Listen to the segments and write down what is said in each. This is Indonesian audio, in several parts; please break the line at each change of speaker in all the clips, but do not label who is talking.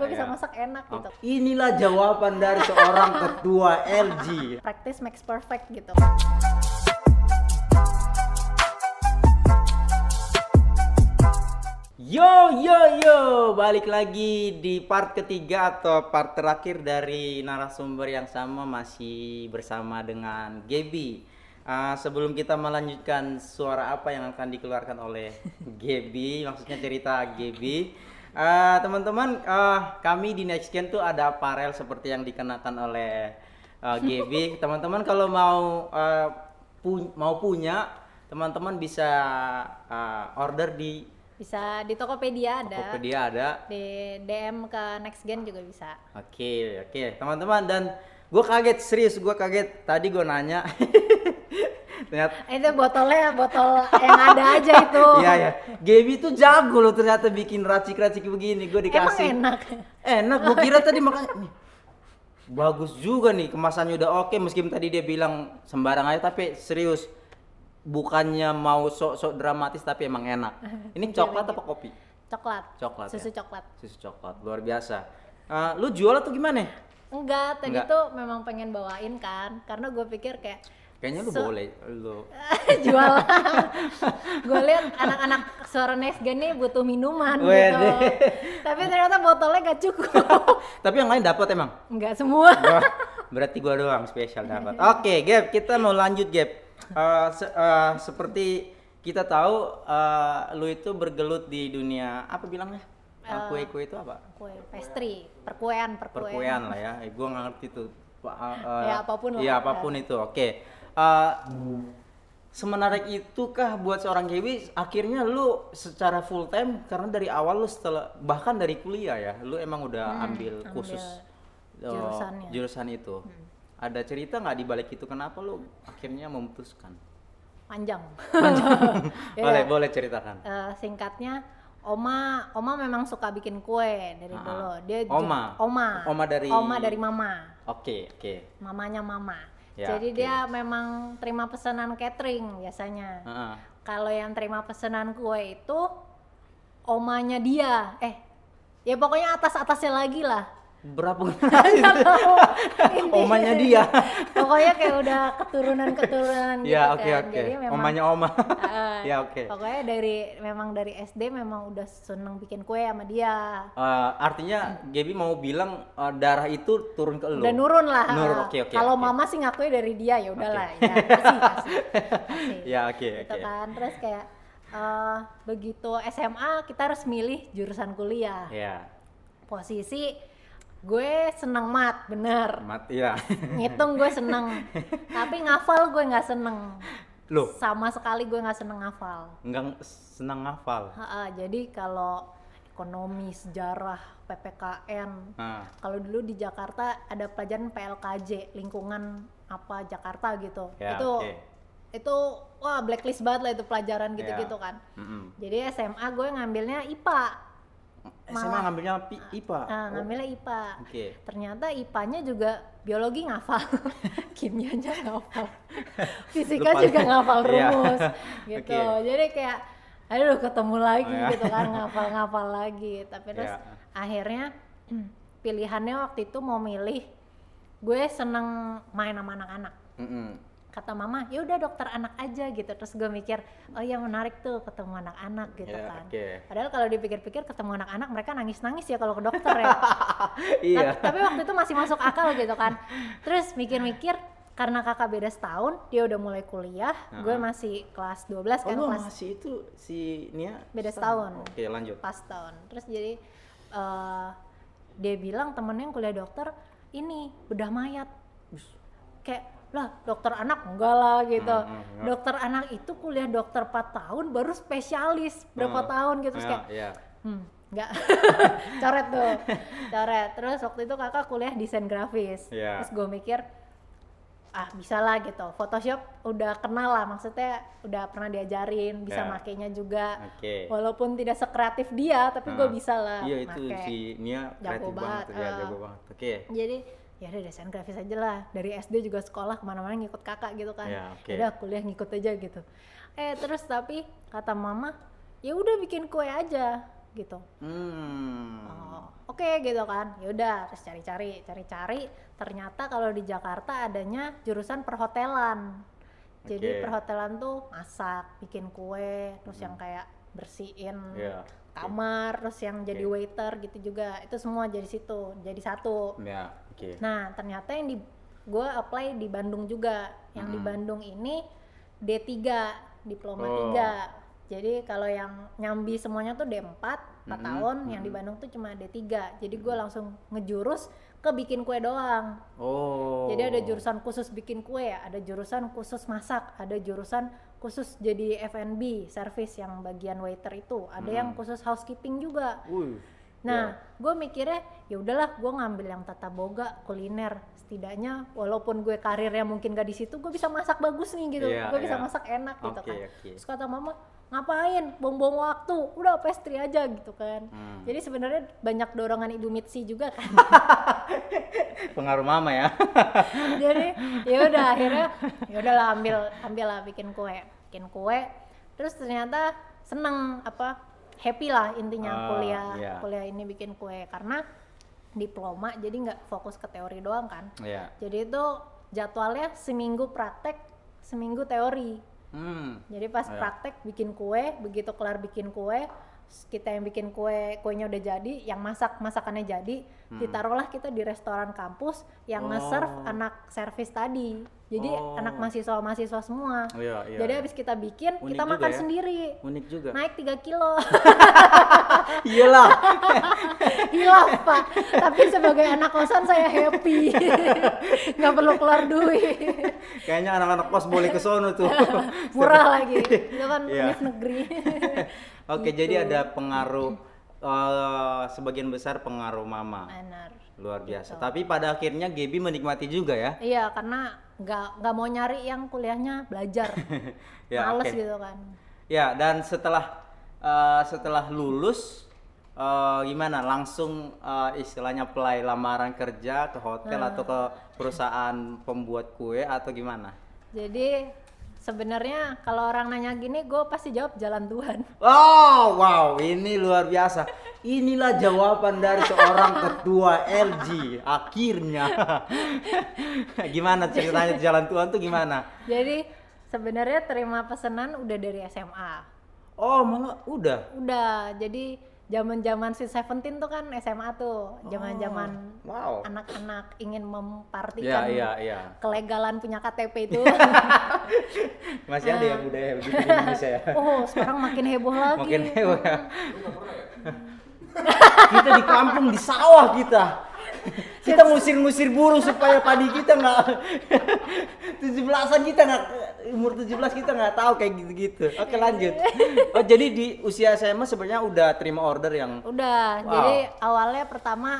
gue
iya.
bisa masak enak gitu
Inilah jawaban dari seorang ketua LG.
practice makes perfect gitu
Yo yo yo, balik lagi di part ketiga atau part terakhir dari narasumber yang sama masih bersama dengan Gebi. Ah, sebelum kita melanjutkan suara apa yang akan dikeluarkan oleh Gebi, maksudnya cerita Gebi. Ah, teman-teman, ah, kami di Next Gen tuh ada aparel seperti yang dikenakan oleh ah, Gebi. Teman-teman kalau mau ah, pu- mau punya, teman-teman bisa ah, order di
bisa di Tokopedia ada
Tokopedia ada.
di DM ke next gen juga bisa
Oke, oke. Teman-teman dan gue kaget serius, gue kaget. Tadi gue nanya. ternyata
Eh, itu botolnya botol yang ada aja itu
Iya, ya. Gaby tuh jago loh ternyata bikin racik-racik begini. Gue
emang
dikasih.
enak
Enak, gue kira tadi makanya nih, bagus juga nih kemasannya udah oke meskipun tadi dia bilang sembarang aja tapi serius bukannya mau sok-sok dramatis tapi emang enak. Ini coklat apa kopi?
coklat
Coklat, ya?
susu coklat
Susu coklat, luar biasa. Eh, lu jual atau gimana?
enggak tadi
Enggak.
tuh memang pengen bawain kan karena gue pikir kayak
Kayaknya lu
So-
boleh lu.
jualan gue lihat anak-anak suara next gen nih butuh minuman gitu
Wede.
tapi ternyata botolnya gak cukup
Tapi yang lain dapat emang.
nggak semua
Wah, Berarti gua doang spesial dapat. Oke, Gap, kita mau lanjut Gap. Eh, se- eh, seperti kita tahu eh, lu itu bergelut di dunia apa bilangnya? Eh, Kue-kue itu apa?
kue pastry perkuean perkuean,
Perkuean lah ya. Eh, gua nggak ngerti tuh. Pa- eh, eh,
Ya, apapun lah.
Iya, apapun itu. Oke. Eh, semenarik itukah buat seorang Kewi akhirnya lu secara full time karena dari awal lu setelah bahkan dari kuliah ya lu emang udah ambil
Hmm, ambil
khusus eh,
jurusannya. Hmm.
jurusan itu ada cerita nggak di balik itu kenapa lu akhirnya memutuskan
panjang Iya.
boleh boleh ceritakan
Eh, singkatnya oma oma memang suka bikin kue dari
Ah.
dulu dia ju-
Oma.
oma
Oma dari-
oma dari mama
oke oke
mamanya mama
Ya,
jadi
oke.
dia memang terima pesanan catering biasanya
Heeh.
kalau yang terima pesanan kue itu omanya dia eh ya pokoknya atas atasnya lagi lah
berapa generasi itu? omanya dia
pokoknya kayak udah keturunan keturunan gitu kan
ya oke oke
jadi memang
omanya oma
eh,
ya oke
pokoknya dari memang dari SD memang udah seneng bikin kue sama dia
Eh, artinya Gaby mau bilang eh, darah itu turun ke lu
udah nurun lah
Nurun, oke, oke,
kalau
oke.
mama sih ngakuin dari dia ya udahlah ya kasih kasih, kasih.
ya oke
gitu
oke
kan terus kayak eh, begitu SMA kita harus milih jurusan kuliah
ya
posisi gue seneng mat bener
mati ya
ngitung gue seneng tapi ngafal gue nggak seneng
Loh?
sama sekali gue nggak seneng ngafal
nggak senang ngafal
Ha-ha, jadi kalau ekonomi sejarah ppkn
nah
kalau dulu di Jakarta ada pelajaran PLKJ lingkungan apa Jakarta gitu
Ya,
itu
oke.
itu wah blacklist banget lah itu pelajaran gitu-gitu
Ya.
kan
mm-mm.
jadi SMA gue ngambilnya IPA
SMA Eh, ngambilnya pi- IPA
nah, ngambilnya IPA
Oh, oke
ternyata IPA-nya juga biologi ngafal kimianya ngafal fisika
Lupa.
juga ngafal
Iya.
rumus gitu
Oke.
jadi kayak aduh ketemu lagi
Oh, ya.
gitu kan ngafal-ngafal lagi tapi terus
Iya.
akhirnya pilihannya waktu itu mau milih gue seneng main sama anak-anak
Mm-mm.
kata mama ya udah dokter anak aja gitu terus gue mikir oh iya menarik tuh ketemu anak-anak gitu
Ya,
kan
oke.
padahal kalau dipikir-pikir ketemu anak-anak mereka nangis-nangis ya kalau ke dokter ya
iya
tapi, tapi waktu itu masih masuk akal gitu kan. Terus mikir-mikir karena kakak beda setahun, dia udah mulai kuliah, gue
Heeh.
masih kelas 12
oh
kan,
lu
kelas
masih itu si Nia
Beda setahun.
oke lanjut
pas tahun. Terus jadi eh, dia bilang temennya yang kuliah dokter, ini bedah mayat. Kayak lah dokter anak enggak lah gitu.
Hmm, hmm, enggak.
Dokter anak itu kuliah dokter 4 tahun baru spesialis berapa
Hmm.
tahun gitu. Terus
Iya,
kayak
iya.
Hmm, enggak. coret tuh. Coret. Terus waktu itu kakak kuliah desain grafis.
Iya.
Terus gue mikir ah bisa lah gitu. Photoshop udah kenal lah maksudnya udah pernah diajarin, bisa
Iya.
makainya juga.
oke
Walaupun tidak sekreatif dia, tapi gue
Nah,
bisa lah
iya itu
make.
si Nia kreatif banget,
banget,
ya
eh.
jago banget oke
Jadi ya udah desain grafis aja lah. Dari SD juga sekolah kemana-mana ngikut kakak gitu kan.
Iya, oke.
Udah kuliah ngikut aja gitu. Eh terus tapi kata mama, ya udah bikin "Ya kue aja. gitu
Hmm.
Oh, oke gitu kan. Yaudah, terus cari-cari, cari-cari. Ternyata kalau di Jakarta adanya jurusan perhotelan. Jadi
Oke.
perhotelan tuh masak, bikin kue, terus yang kayak bersihin
Hmm. Iya.
kamar, terus yang jadi
Oke.
waiter gitu juga. Itu semua jadi situ, jadi satu.
Ya, oke.
Nah, ternyata yang di gue apply di Bandung juga. Yang di
Mm.
Bandung ini D3, diploma
Oh.
3. Jadi kalau yang nyambi semuanya tuh D4, 4
Mm-mm,
tahun, yang di
mm-mm.
Bandung tuh cuma D3. Jadi gue
Hmm.
langsung ngejurus ke bikin kue doang.
Oh.
Jadi ada jurusan khusus bikin kue, ada jurusan khusus masak, ada jurusan khusus jadi F&B, service yang bagian waiter itu, ada yang
Mm.
khusus housekeeping juga.
Wih. Iya.
Nah, gue mikirnya ya udahlah, gue ngambil yang tata boga kuliner. Setidaknya walaupun gue karirnya mungkin gak di situ, gue bisa masak bagus nih gitu.
Iya,
gue bisa
iya.
masak enak
ya.
gitu
Oke,
kan.
oke.
Terus kata mama, ngapain? Buang-buang waktu. Udah pastry aja gitu kan.
Hmm.
Jadi sebenarnya banyak dorongan Ibu Mitsi juga kan.
Pengaruh mama ya.
Jadi ya udah akhirnya ya udahlah ambil ambil lah bikin kue, bikin kue. Terus ternyata seneng apa happy lah intinya
Ah,
kuliah
iya.
kuliah ini bikin kue karena diploma jadi nggak fokus ke teori doang kan.
Iya.
Jadi itu jadwalnya seminggu praktek, seminggu teori.
Hmm.
Jadi pas
Iya.
praktek bikin kue, begitu kelar bikin kue, s- kita yang bikin kue, kuenya udah jadi, yang masak masakannya jadi, ditaruhlah kita di restoran kampus yang nge-serve
Hmm. Oh.
anak servis tadi. Jadi
Oh.
anak mahasiswa-mahasiswa semua.
Iya, iya.
jadi
iya.
habis kita bikin,
Unik
kita
juga
makan
ya.
sendiri.
unik juga.
Naik 3 kilo.
Iyalah.
Hilaf, Pak. Tapi sebagai anak kosan saya happy. nggak perlu keluar duit.
Kayaknya anak-anak kos boleh ke sono tuh.
Murah lagi. Itu kan
Iya.
univ negeri.
Oke,
Gitu.
jadi ada pengaruh eh, sebagian besar pengaruh mama.
Benar.
Luar biasa.
Gitu.
Tapi pada akhirnya Gaby menikmati juga ya.
Iya, karena nggak nggak mau nyari yang kuliahnya belajar,
Ya,
males
oke.
gitu kan.
Ya, dan setelah eh, setelah lulus eh, gimana? Langsung eh, istilahnya apply lamaran kerja ke hotel atau ke perusahaan pembuat kue atau gimana?
Jadi sebenarnya kalau orang nanya gini, gue pasti jawab jalan Tuhan.
Oh, wow, ini luar biasa. Inilah jawaban dari seorang ketua LG akhirnya. gimana ceritanya jalan Tuhan tuh gimana?
Jadi sebenarnya terima pesanan udah dari SMA.
Oh, malah udah.
Udah, jadi zaman-zaman si Seventeen tuh kan SMA tuh, zaman-zaman
Wow.
anak-anak ingin mempartikan
Iya, iya, iya.
kelegalan punya KTP itu.
Masih ada ya budaya begitu di Indonesia ya.
oh, sekarang makin heboh lagi.
Makin heboh ya. kita di kampung di sawah kita. Kita ngusir-ngusir burung supaya padi kita nggak 17-an kita nggak umur 17 kita nggak tahu kayak gitu-gitu. Oke lanjut. Oh jadi di usia SMA sebenarnya udah terima order yang
Oh, Udah,
kan? Wow.
jadi awalnya pertama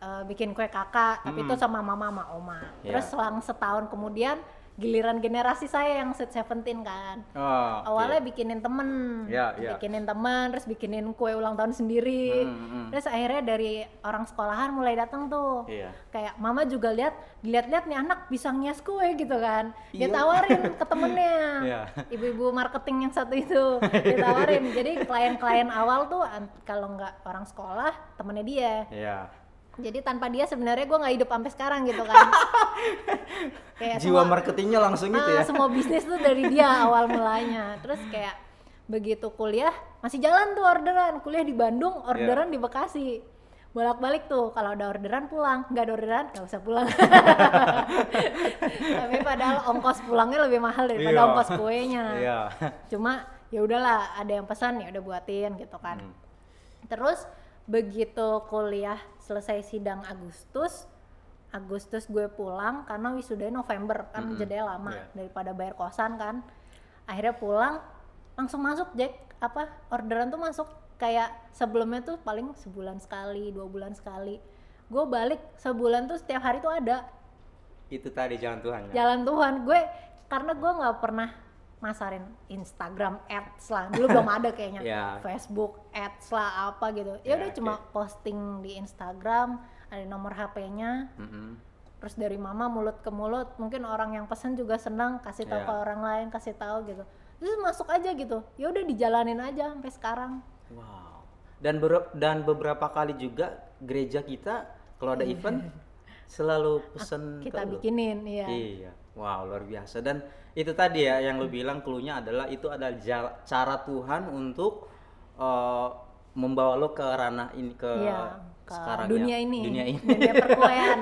eh, bikin kue kakak, tapi itu sama mama sama oma.
Hmm. Iya.
Terus selang setahun kemudian giliran generasi saya yang set seventeen kan.
oh, oke.
Awalnya bikinin temen,
Iya, iya.
bikinin temen, terus bikinin kue ulang tahun sendiri.
Hmm, hmm.
Terus akhirnya dari orang sekolahan mulai datang tuh.
Iya.
Kayak mama juga lihat, dilihat-lihat nih anak bisa ngias kue gitu kan. Dia
Iya.
tawarin ke temennya,
Iya.
ibu-ibu marketing yang satu itu, dia tawarin. Jadi klien-klien awal tuh an- kalau nggak orang sekolah, temennya dia.
Iya.
Jadi tanpa dia sebenarnya gue nggak hidup sampai sekarang gitu kan. Kayak
Jiwa
semua-
marketingnya langsung gitu
Ah,
ya.
semua bisnis tuh dari dia awal mulanya. Terus kayak begitu kuliah masih jalan tuh orderan. Kuliah di Bandung,
Iya.
orderan di Bekasi. Bolak-balik tuh kalau ada orderan pulang, nggak ada orderan nggak usah pulang. Tapi padahal ongkos pulangnya lebih mahal daripada
Iya.
ongkos kuenya.
Iya.
Cuma ya udahlah, ada yang pesan ya udah buatin gitu kan.
Hmm.
Terus begitu kuliah selesai sidang Agustus, Agustus gue pulang karena wisudanya November kan jedanya lama
Iya.
daripada bayar kosan kan. Akhirnya pulang langsung masuk Jack apa orderan tuh masuk kayak sebelumnya tuh paling sebulan sekali dua bulan sekali. Gue balik sebulan tuh setiap hari tuh ada
Itu tadi jalan Tuhan ya.
jalan Tuhan gue karena gue nggak pernah masarin Instagram ads lah dulu belum ada kayaknya
Ya.
Facebook ads lah apa gitu ya
Ya,
udah
oke.
cuma posting di Instagram ada nomor HP-nya
Mm-mm.
terus dari mama mulut ke mulut mungkin orang yang pesen juga senang kasih tahu
Ya.
ke orang lain
Hmm,
kasih tahu gitu terus masuk aja gitu ya udah dijalanin aja sampai sekarang
Wow. dan ber- dan beberapa kali juga gereja kita kalau ada event selalu pesen
Iya.
ke
kita
lu.
bikinin ya
Iya. Wow, luar biasa. Dan itu tadi ya yang lu
Hmm.
bilang cluenya adalah itu adalah ja- cara Tuhan untuk eh, membawa lo ke ranah ini ke
Iya, ke
sekarang
dunia
ya.
ini
Dunia ini.
dunia perkuean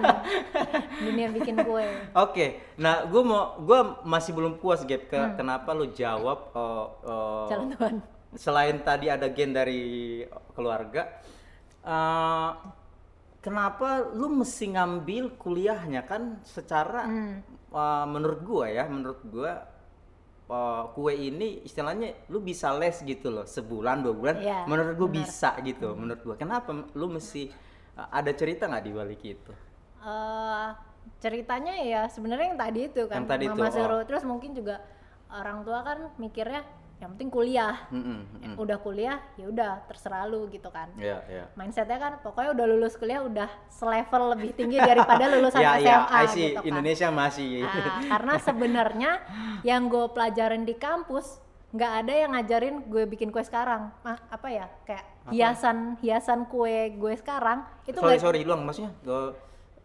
dunia bikin kue
Oke, nah gue mau gue masih belum puas Gap ke kenapa lu jawab eh, eh,
Hmm. jalan Tuhan
selain tadi ada gen dari keluarga eh, kenapa lu mesti ngambil kuliahnya kan secara
Hmm.
eh, menurut gua ya menurut gua eh, kue ini istilahnya lu bisa les gitu loh sebulan dua bulan
Iya, Hmm.
menurut gua bisa gitu menurut gua kenapa lu mesti eh, ada cerita nggak di balik itu
Eh, ceritanya ya sebenarnya yang tadi itu kan
Yang tadi
mama
itu, oh.
suruh terus mungkin juga orang tua kan mikirnya yang penting kuliah
Mm-mm, mm-mm.
udah kuliah ya udah terserah lu gitu kan
Iya, iya.
mindsetnya kan pokoknya udah lulus kuliah udah selevel lebih tinggi daripada lulusan
ya
SMA
ya I see.
gitu kan
Indonesia masih
Ah, karena sebenarnya yang gue pelajarin di kampus nggak ada yang ngajarin gue bikin kue sekarang ah apa ya kayak hiasan hiasan kue gue sekarang itu
sorry
nggak-
sorry luang maksudnya gua-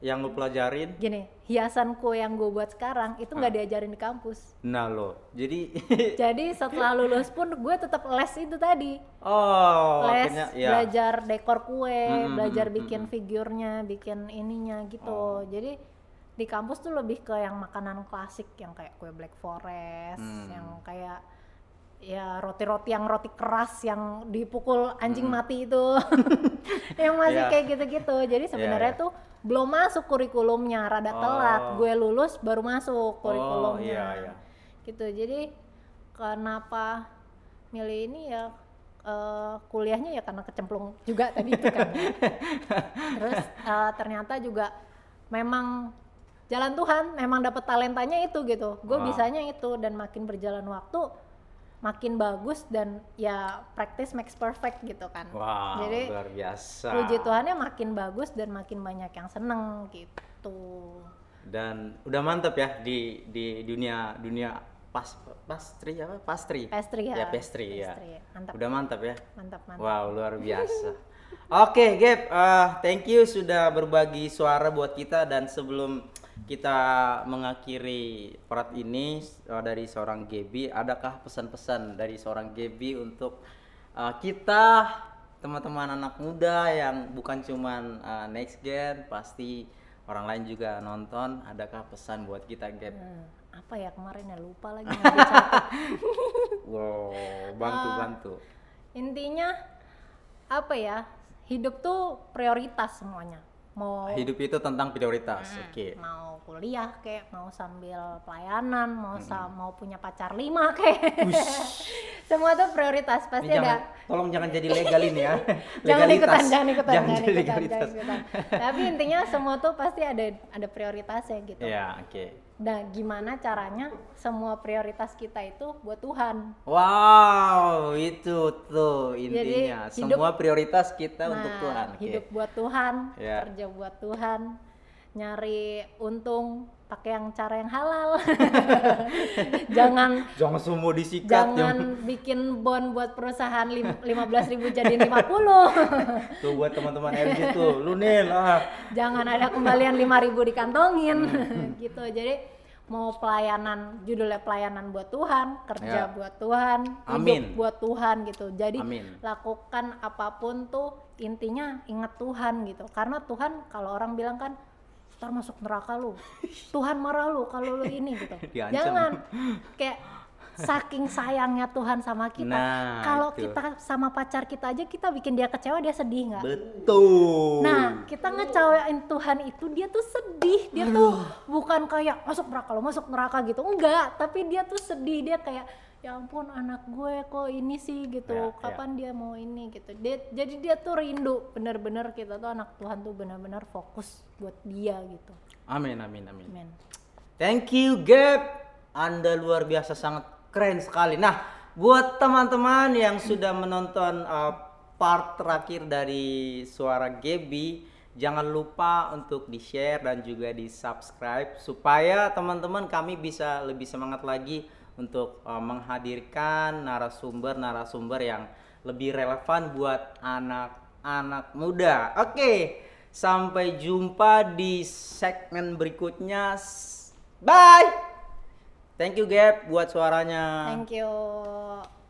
yang lu pelajarin
gini hiasan kue yang gue buat sekarang itu nggak diajarin di kampus
Nah lo, jadi
jadi setelah lulus pun gue tetap les itu tadi
oh
les
akhirnya ya.
belajar dekor kue
Mm, mm,
belajar
mm, mm,
bikin figurnya bikin ininya gitu
Oh.
jadi di kampus tuh lebih ke yang makanan klasik yang kayak kue black forest
Hmm.
yang kayak ya roti-roti yang roti keras yang dipukul anjing mati itu yang masih
Iya.
kayak gitu-gitu jadi sebenarnya
iya.
tuh belum masuk kurikulumnya rada
Oh.
telat gue lulus baru masuk kurikulumnya
iya, iya.
gitu jadi kenapa milih ini ya eh, kuliahnya ya karena kecemplung juga tadi itu kan terus eh, ternyata juga memang jalan Tuhan memang dapat talentanya itu gitu gue
Ah.
bisanya itu dan makin berjalan waktu makin bagus dan ya practice makes perfect gitu kan
Wow,
jadi
luar biasa.
puji Tuhannya makin bagus dan makin banyak yang seneng gitu
Dan udah mantep ya di di dunia dunia pas pastri apa pastri?
pastry ya
Ya pastry, ya.
Pastry, mantap
Udah mantap ya.
mantap mantap
Wow, luar biasa. Oke, Gap, eh, thank you sudah berbagi suara buat kita dan sebelum kita mengakhiri part ini eh, dari seorang Gaby, adakah pesan-pesan dari seorang Gaby untuk eh, kita teman-teman anak muda yang bukan cuman eh, next gen, pasti orang lain juga nonton, adakah pesan buat kita, Gap?
Hmm, apa ya kemarin ya lupa lagi ngambil catat.
Wow, bantu-bantu.
intinya apa ya hidup tuh prioritas semuanya mau
Hidup itu tentang prioritas.
Hmm.
Oke.
mau kuliah kayak mau sambil pelayanan mau sa- mau punya pacar lima kayak semua tuh prioritas pasti
Ini jangan,
ada
tolong jangan jadi legal ini ya.
jangan
Legalitas.
ikutan jangan ikutan
Jangan
jangan
jadi
ikutan,
legalitas.
jangan ikutan. tapi intinya semua tuh pasti ada ada prioritasnya gitu
Iya, oke.
nah gimana caranya semua prioritas kita itu buat Tuhan
Wow, itu tuh intinya.
hidup-
Semua prioritas kita
Nah,
untuk Tuhan. oke.
Hidup buat Tuhan,
Ya.
kerja buat Tuhan, nyari untung pakai yang cara yang halal. jangan
Jangan semua disikat.
jangan
jangan-
bikin bon buat perusahaan lim- 15.000 jadi 50.
Tuh buat teman-teman FG tuh, lu ah. nih lah.
Nah. jangan ada kembalian 5.000 dikantongin gitu. Jadi mau pelayanan judulnya pelayanan buat Tuhan, kerja
Ya.
buat Tuhan,
Amin.
hidup buat Tuhan gitu. Jadi
Amin.
lakukan apapun tuh intinya inget Tuhan gitu karena Tuhan kalau orang bilang kan ntar masuk neraka lu Tuhan marah lu kalau lu ini gitu
Diancam.
jangan kayak saking sayangnya Tuhan sama kita
Nah,
kalau
itu.
kita sama pacar kita aja kita bikin dia kecewa dia sedih nggak
Betul.
Nah, kita ngecewain Tuhan itu dia tuh sedih, dia tuh bukan kayak masuk neraka lo, masuk neraka gitu. Enggak, tapi dia tuh sedih, dia kayak ya ampun anak gue kok ini sih gitu.
Ya, ya.
Kapan dia mau ini gitu. Dia, jadi dia tuh rindu bener-bener kita tuh anak Tuhan tuh bener-bener fokus buat dia gitu.
Amin, amin, amin.
Amin.
Thank you Gap. Anda luar biasa sangat keren sekali. Nah, buat teman-teman yang sudah menonton uh, part terakhir dari suara Gaby, jangan lupa untuk di-share dan juga di-subscribe supaya teman-teman kami bisa lebih semangat lagi untuk uh, menghadirkan narasumber-narasumber yang lebih relevan buat anak-anak muda. Oke, sampai jumpa di segmen berikutnya. S- Bye. Thank you Gap buat suaranya.
Thank you.